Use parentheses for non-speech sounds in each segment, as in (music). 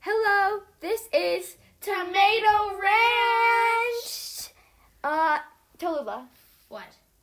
Hello, this is Tomato Ranch. Uh, Toluba. What?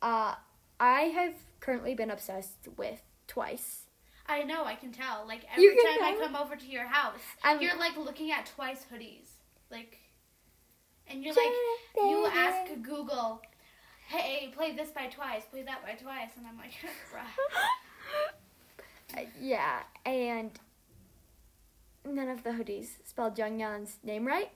Uh, I have currently been obsessed with twice. I know, I can tell. Like every You time can I tell? come over to your house, I'm- you're like looking at twice hoodies. Like and you're like you ask Google, "Hey, play this by Twice, play that by Twice." And I'm like, (laughs) "Bruh." (laughs) Uh, yeah, and none of the hoodies spelled Jungyeon's name right.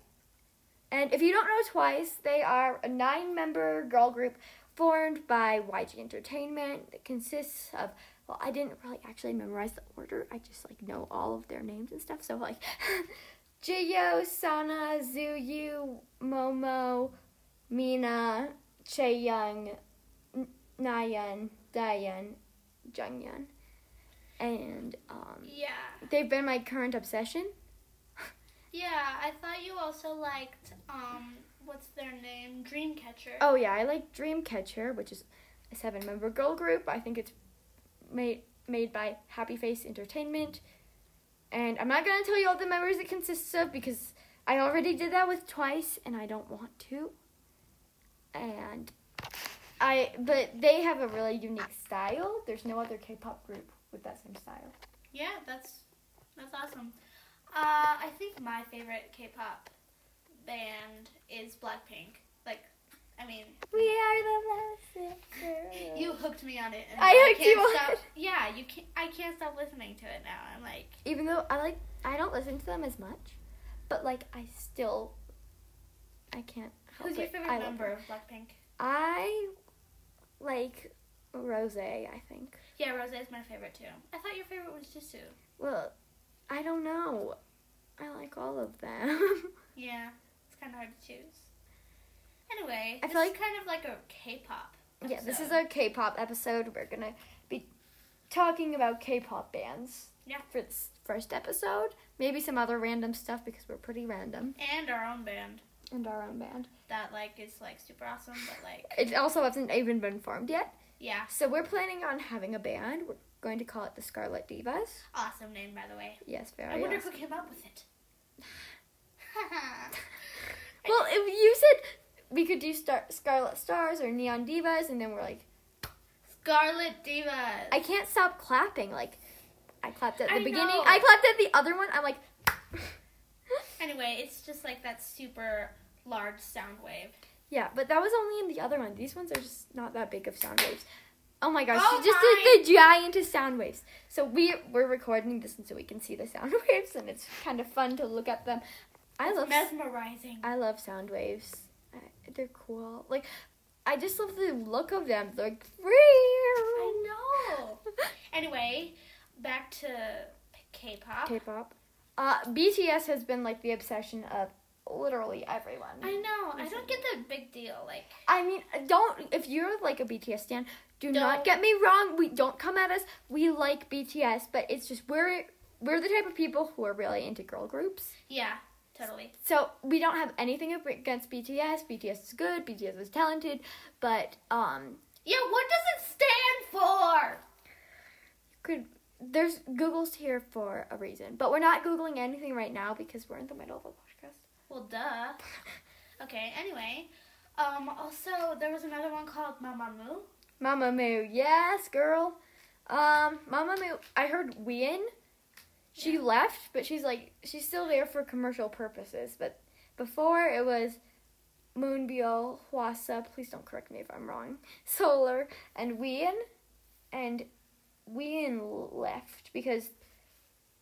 And if you don't know Twice, they are a nine-member girl group formed by YG Entertainment that consists of well, I didn't really actually memorize the order. I just like know all of their names and stuff. So like (laughs) Jio, Sana, Zuyu, Momo, Mina, Chaeyoung, N- Nayeon, Daeyeon, Jungyeon. And um, yeah. they've been my current obsession. Yeah, I thought you also liked um what's their name? Dreamcatcher. Oh yeah, I like Dreamcatcher, which is a seven-member girl group. I think it's made made by Happy Face Entertainment, and I'm not gonna tell you all the members it consists of because I already did that with Twice, and I don't want to. And I, but they have a really unique style. There's no other K-pop group with that same style. Yeah, that's that's awesome. Uh, I think my favorite K-pop band is Blackpink. Like, I mean, We are the last girls. you hooked me on it. And I hooked can't you on stop, it. (laughs) Yeah, you can not I can't stop listening to it now. I'm like, even though I like I don't listen to them as much, but like I still I can't. help who's your it. favorite I love member them. of Blackpink? I like Rose. I think. Yeah, Rose is my favorite too. I thought your favorite was Jisoo. Well, I don't know. I like all of them. (laughs) Yeah, it's kind of hard to choose. Anyway, I this feel is like- kind of like a K-pop. yeah, this is episode. our K-pop episode. We're gonna be talking about K-pop bands. Yeah. For this first episode, maybe some other random stuff because we're pretty random and our own band and our own band. that like is like super awesome, but like It also hasn't even been formed yet. yeah, So we're planning on having a band. We're going to call it the Scarlet Divas. awesome name by the way. Yes, very. I wonder awesome. who came up with it. (laughs) Well, if you said we could do star- Scarlet Stars or Neon Divas, and then we're like, Scarlet Divas. I can't stop clapping. Like, I clapped at the I beginning. know. I clapped at the other one. I'm like, (laughs) anyway, it's just like that super large sound wave. yeah, but that was only in the other one. These ones are just not that big of sound waves. Oh my gosh, Oh she just did the giant of sound waves. So we we're recording this, and so we can see the sound (laughs) waves, and it's kind of fun to look at them. I love Mesmerizing. I love sound waves. I, they're cool. Like, I just love the look of them. They're like, I know. anyway, back to (laughs) K-pop. K-pop. Uh, BTS has been like the obsession of literally everyone. I know. I don't get the big deal. Like, I mean, don't if you're like a BTS stan, do Don't. not get me wrong. We don't come at us. We like BTS, but it's just we're we're the type of people who are really into girl groups. yeah, totally. So we don't have anything against BTS. BTS is good. BTS is talented, but um, Yeah, what does it stand for? could there's Google's here for a reason, but we're not googling anything right now because we're in the middle of a podcast. Well, duh. Okay. Anyway, um. Also, there was another one called Mamamoo. Mama Moo, yes, girl. Um, Mama Moo, I heard Wien. She left, but she's like she's still there for commercial purposes. But before it was Moonbyul, Hwasa. Please don't correct me if I'm wrong. (laughs) Solar and Wien, and Wien left because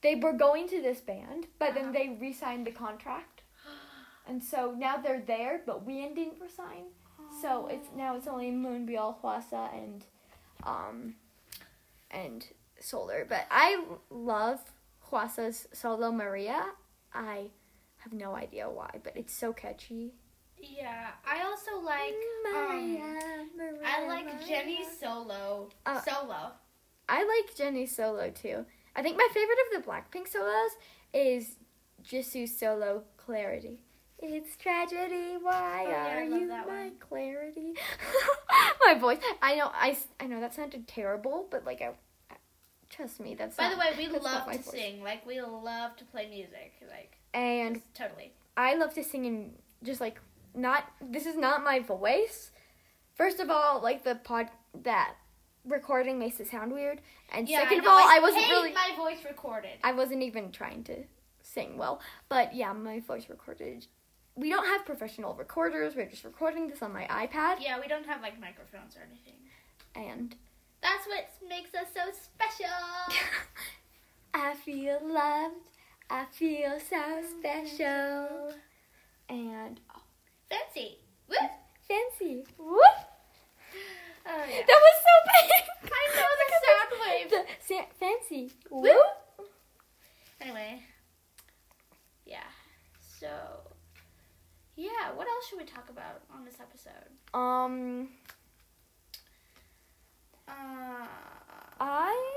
they were going to this band, but then Uh-huh. they re-signed the contract. And so now they're there, but Wien didn't resign. So it's now it's only Moonbyul, Hwasa, and um, and Solar. But I love Hwasa's solo Maria. I have no idea why, but it's so catchy. Yeah, I also like um, Maria. I like Jenny's solo Uh, solo. I like Jenny's solo too. I think my favorite of the Blackpink solos is Jisoo's solo Clarity. It's tragedy. Why Oh, yeah, I are love you my that one. clarity? (laughs) my voice. I know. I, s- I know that sounded terrible, but like I, I Trust me, that's. By not- the way, we that's not love my to voice. sing. Like we love to play music. Like and just totally. I love to sing in just like not this is not my voice. First of all, like the pod that recording makes it sound weird, and second of know, all, I, wasn't hate really my voice recorded. I wasn't even trying to sing well. But yeah, my voice recorded. We don't have professional recorders. We're just recording this on my iPad, Yeah, we don't have like microphones or anything. and (laughs) That's what makes us so special. (laughs) I feel loved. I feel so special and Fancy. Whoop. fancy. Woo! Oh yeah. (laughs) That was so big. (laughs) I know the (laughs) sound wave. The sa- fancy. Woo! Anyway. Yeah. So. Yeah. What else should we talk about on this episode? Um, Uh. I.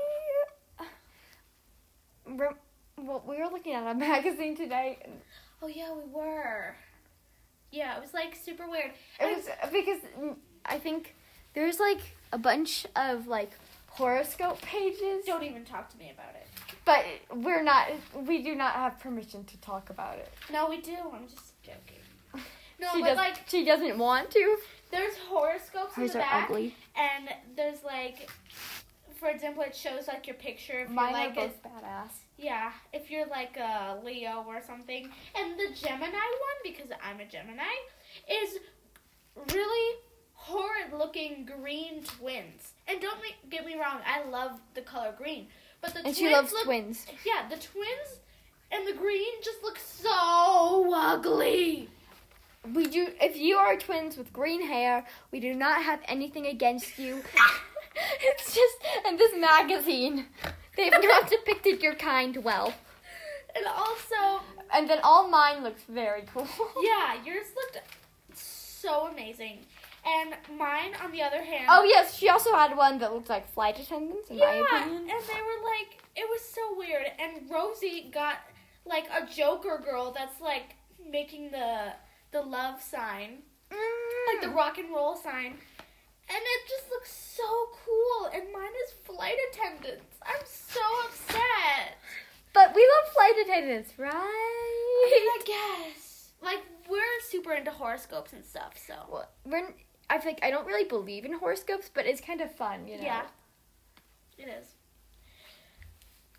Rem- well, we were looking at a (laughs) magazine today. and Oh yeah, we were. Yeah, it was like super weird. It was because mm, I think there's like a bunch of like horoscope pages, Don't even talk to me about it. but we're not. We do not have permission to talk about it. No, we do. I'm just joking. (laughs) No, she but does, like she doesn't want to. there's horoscopes in the back, and there's like, for example, it shows like your picture if Mine you're like are a both badass. Yeah, if you're like a Leo or something. And the Gemini one, because I'm a Gemini, is really horrid looking green twins. And don't make, get me wrong, I love the color green. But the And twins she loves look, twins. Yeah, the twins and the green just look so ugly. We do. If you are twins with green hair, we do not have anything against you. (laughs) it's just and this magazine. (laughs) They've not depicted your kind well. (laughs) And also, And then all mine looks very (laughs) cool. yeah, yours looked so amazing. And mine, on the other hand, Oh yes, she also had one that looked like flight attendants. In Yeah, my and opinion. they were like, it was so weird. And Rosie got like a Joker girl that's like making the the love sign, like the rock and roll sign, and it just looks so cool. And mine is flight attendants. I'm so upset. But we love flight attendants, I mean, (laughs) right? (laughs) I guess like we're super into horoscopes and stuff, so Well, We're. I feel like I don't really believe in horoscopes, but it's kind of fun, you know. yeah, it (laughs) is.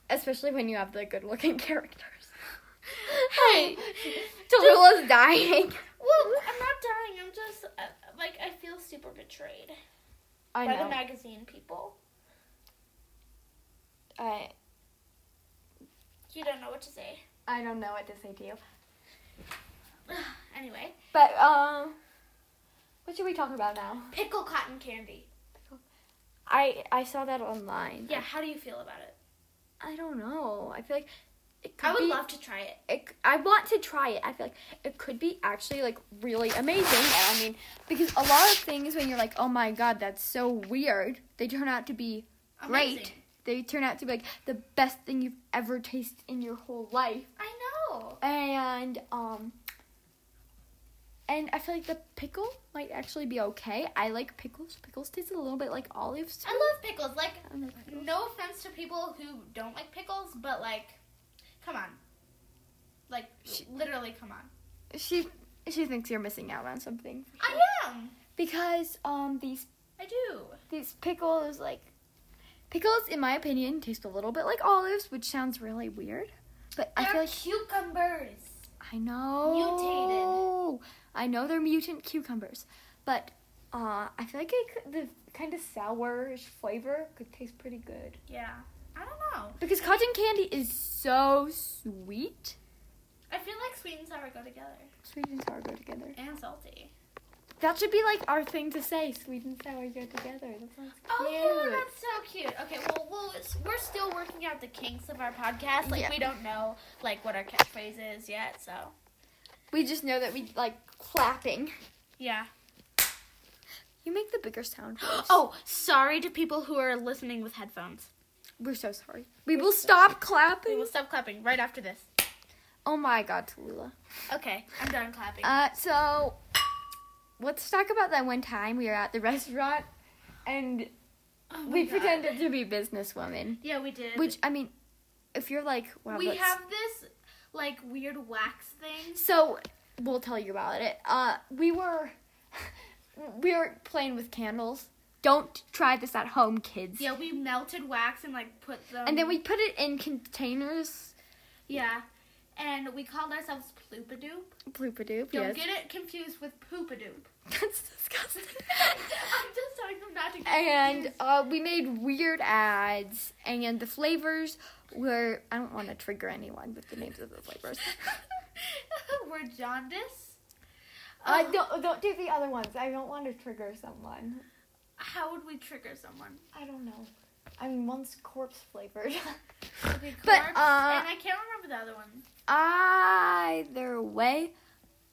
Especially when you have the good-looking (laughs) (laughs) characters. Hey, Tallulah's (laughs) dying. well, I'm not dying. I'm just uh, like I feel super betrayed. I by the know. magazine people. I You don't know what to say. (sighs) I don't know what to say to you. anyway, But um, what should we talk about now? pickle cotton candy. I I saw that online. Yeah, how do you feel about it? I don't know. I feel like it could I would be, love to try it. It, I want to try it. I feel like it could be actually like really amazing. And I mean, because a lot of things when you're like, oh my god, that's so weird, they turn out to be great. Amazing. They turn out to be like the best thing you've ever tasted in your whole life. I know. and um and I feel like the pickle might actually be okay. I like pickles. Pickles taste a little bit like olives. to I me. love pickles. Like, I don't like pickles. no offense to people who don't like pickles, but like, come on. Like, Sh- literally, come on. She she thinks you're missing out on something I am. because um these I do. these pickles like pickles in my opinion taste a little bit like olives, which sounds really weird. But I They're feel like cucumbers. I know. Mutated. I know they're mutant cucumbers, but uh, I feel like it, could- the kind of sourish flavor could taste pretty good. Yeah. I don't know. Because cotton candy is so sweet. I feel like sweet and sour go together. Sweet and sour go together. And salty. That should be like our thing to say. Sweet and sour go together. That sounds Oh yeah, cute. that's so cute. Okay, well, well, it's, we're still working out the kinks of our podcast. Like Yeah. we don't know like what our catchphrase is yet. So We just know that we like clapping. yeah. (gasps) You make the bigger sound. Oh, sorry to people who are listening with headphones. we're so sorry. We will stop We clapping. will stop clapping right after this. Oh my god, Tallulah. Okay, I'm done clapping. Uh, so let's talk about that one time we were at the restaurant and Oh my We God. pretended to be businesswomen. Yeah, we did. Which I mean, if you're like, wow, we let's- have this like weird wax thing. So we'll tell you about it. Uh, we were (laughs) we were playing with candles. Don't try this at home, kids. Yeah, we melted wax and like put them. And then we put it in containers. yeah, and we called ourselves Ploopadoop. Bloopadoop. Don't Yes. get it confused with Poopadoop. (laughs) That's (laughs) disgusting. (laughs) I'm just telling them not to. Get and confused. uh, we made weird ads, and the flavors were. I don't want to trigger anyone with the names of the flavors. (laughs) we're jaundice. Uh, Oh, don't don't do the other ones. I don't want to trigger someone. How would we trigger someone? I don't know. I mean, one's corpse flavored. (laughs) (laughs) Okay, But, corpse, uh, and I can't remember the other one. Either way,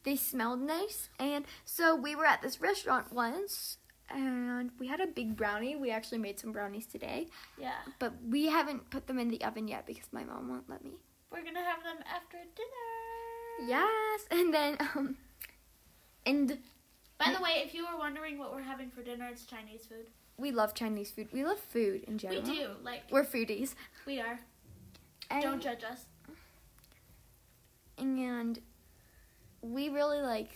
they smelled nice, and so we were at this restaurant once, and we had a big brownie. We actually made some brownies today, Yeah, but we haven't put them in the oven yet because my mom won't let me. we're gonna have them after dinner. Yes, (laughs) and then um, and By the way, if you were wondering what we're having for dinner, it's Chinese food. we love Chinese food. We love food in general. We do. Like We're foodies. we are. And, Don't judge us. and we really like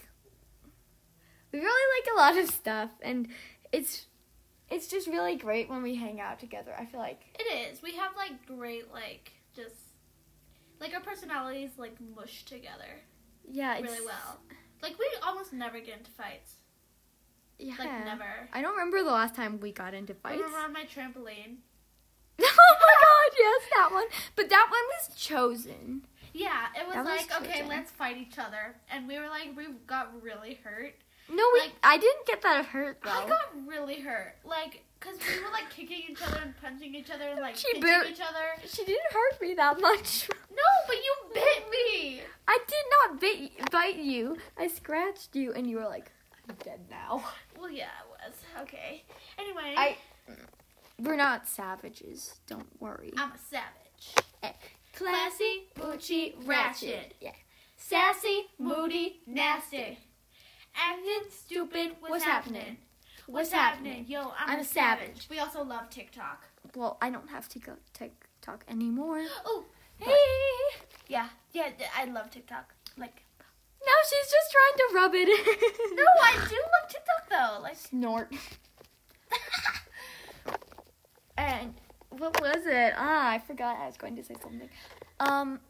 we really like a lot of stuff and it's it's just really great when we hang out together i feel like It is. We have like great like just like our personalities like mush together yeah it's really well. Like we almost never get into fights. yeah Like never. i don't remember the last time we got into I fights remember on my trampoline. (laughs) oh my god yes that one but that one was chosen Yeah, it was That was like okay, chosen. let's fight each other, and we were like we got really hurt. no we, Like- i didn't get that hurt though I got really hurt, like because we were like kicking each other and punching each other and like She hitting bit- each other. she didn't hurt me that (laughs) much No, but you bit me. i did not bit, bite you i scratched you and you were like i'm dead now Well, yeah, it was okay. Anyway, I- We're not savages, don't worry. I'm a savage. Classy, Moochie, Yeah. Sassy, moody, nasty. Acting stupid. What's, What's happening? happening? What's happening? Yo, I'm, I'm a a savage. savage. We also love TikTok. Well, I don't have to go TikTok anymore. Oh, hey. Yeah, yeah, th- I love TikTok. Like, No, she's just trying to rub it (laughs) in. no, I do love TikTok though. Like, Snort. (laughs) And what was it? Ah, I forgot I was going to say something. Um.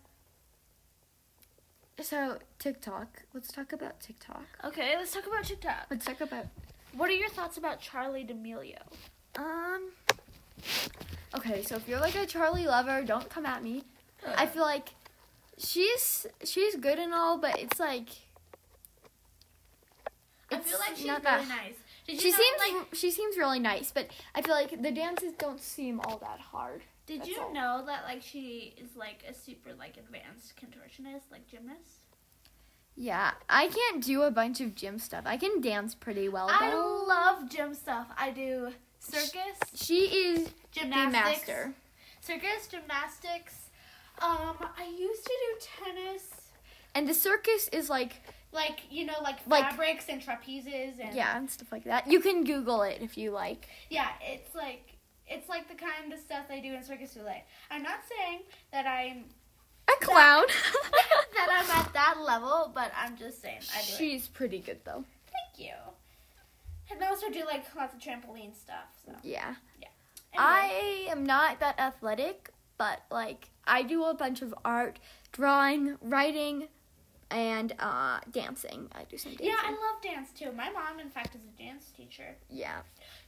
So, TikTok. Let's talk about TikTok. okay, let's talk about TikTok. Let's talk about What are your thoughts about Charlie D'Amelio? Um. Okay, so if you're like a Charlie lover, don't come at me. I feel like she's she's good and all, but it's like I it's feel like she's really not that- nice. Did you she know, seems like, she seems really nice, but I feel like the dances don't seem all that hard. Did That's you all. know that like she is like a super like advanced contortionist, like gymnast? Yeah, I can't do a bunch of gym stuff. I can dance pretty well I though. love gym stuff. I do circus, She is the gymnastics, master. circus, gymnastics. Um, I used to do tennis, And the circus is like like you know, like Like- fabrics and trapezes and yeah, and stuff like that. You can Google it if you like. yeah. It's like it's like the kind of stuff they do in circus ballet. I'm not saying that I'm A (laughs) clown. that I'm at that level, but I'm just saying I do. it. She's pretty good though. Thank you. And I also do like lots of trampoline stuff. So Yeah. anyway. I am not that athletic, but like I do a bunch of art, drawing, writing, and uh dancing. I do some dancing. yeah, I love dance too. My mom, in fact, is a dance teacher. Yeah.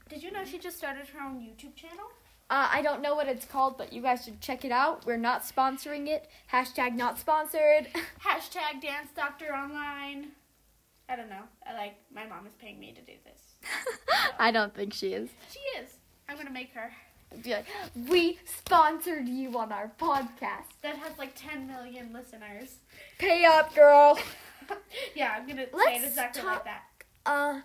Did you know she just started her own YouTube channel? Uh, I don't know what it's called, but you guys should check it out. We're not sponsoring it. Hashtag not sponsored. (laughs) Hashtag dance doctor online. I don't know. I like my mom is paying me to do this. I don't think she is. She is. I'm gonna make her. Be like, we sponsored you on our podcast. That has like 10 million listeners. Pay up, girl. (laughs) (laughs) yeah, I'm gonna say it Let's exactly like talk- that. Uh,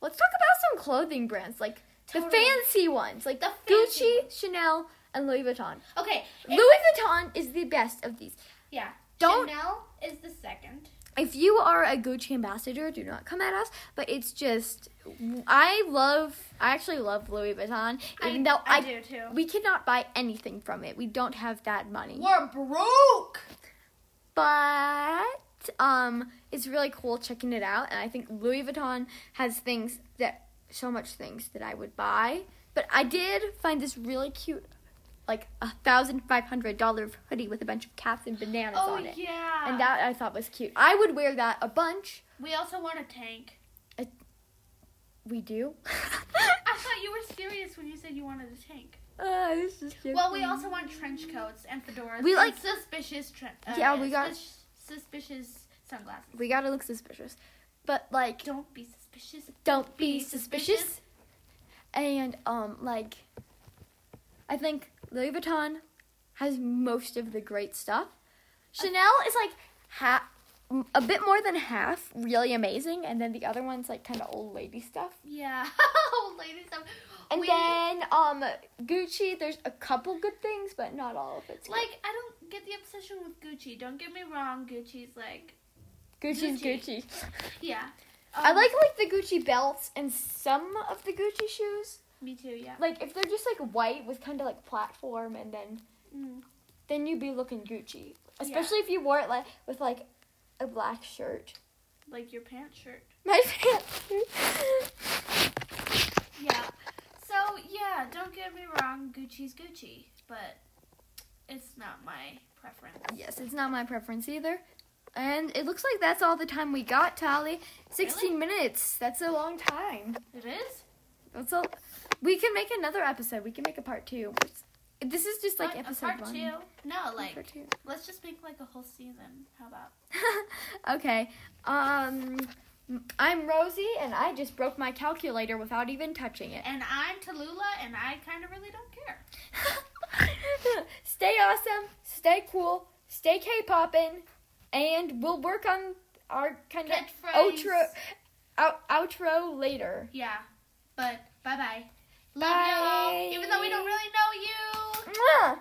let's talk about some clothing brands, like the Totally. fancy ones, like The Gucci, fancy Chanel, and Louis Vuitton. Okay. if- Louis Vuitton is the best of these. Yeah. Don't- Chanel is the second. if you are a Gucci ambassador, do not come at us. But it's just, I love, I actually love Louis Vuitton, even though I, do too. we cannot buy anything from it. We don't have that money. We're broke. But um, it's really cool checking it out, and I think Louis Vuitton has things that so much things that I would buy. But I did find this really cute, like a thousand five hundred dollar hoodie with a bunch of cats and bananas Oh on it. yeah. And that I thought was cute. I would wear that a bunch. we also want a tank. (laughs) We do. (laughs) I thought you were serious when you said you wanted a tank. uh, this is so Well, we funny. also want trench coats and fedoras. We and like- suspicious. Tre- uh, Yeah, we got- sus- suspicious sunglasses. we gotta look suspicious, but like Don't be suspicious. don't be be suspicious. suspicious. And um, like, I think Louis Vuitton has most of the great stuff. Chanel is like half, a bit more than half, really amazing, and then the other one's like kind of old lady stuff. (laughs) Yeah, old lady stuff. And Oh, We- then um, Gucci, there's a couple good things, but not all of it's good. like, I don't get the obsession with Gucci. Don't get me wrong. Gucci's like, Gucci's Gucci. Gucci. yeah. I Um, like like the Gucci belts and some of the Gucci shoes. Me too. Yeah. Like if they're just like white with kind of like platform and then Mm. then you'd be looking Gucci. Especially if you wore it like with like a black shirt. Like your pants shirt. My (laughs) pants. Yeah. So yeah, don't get me wrong. Gucci's Gucci, but it's not my preference. yes, it's not my preference either. And it looks like that's all the time we got, Tally. 16 minutes. That's a long time. It is. That's all. We can make another episode. We can make a part 2. It's- This is just like But a episode part 1. two. No, Part like two. (laughs) let's just make like a whole season. How about? okay. Um I'm Rosie and I just broke my calculator without even touching it. And I'm Tallulah, and I kind of really don't care. (laughs) stay awesome, stay cool, stay K-poppin', and we'll work on our kind of Catchphrase. outro out, outro later. Yeah, but bye bye. Love Bye. y'all, even though we don't really know you. Mwah!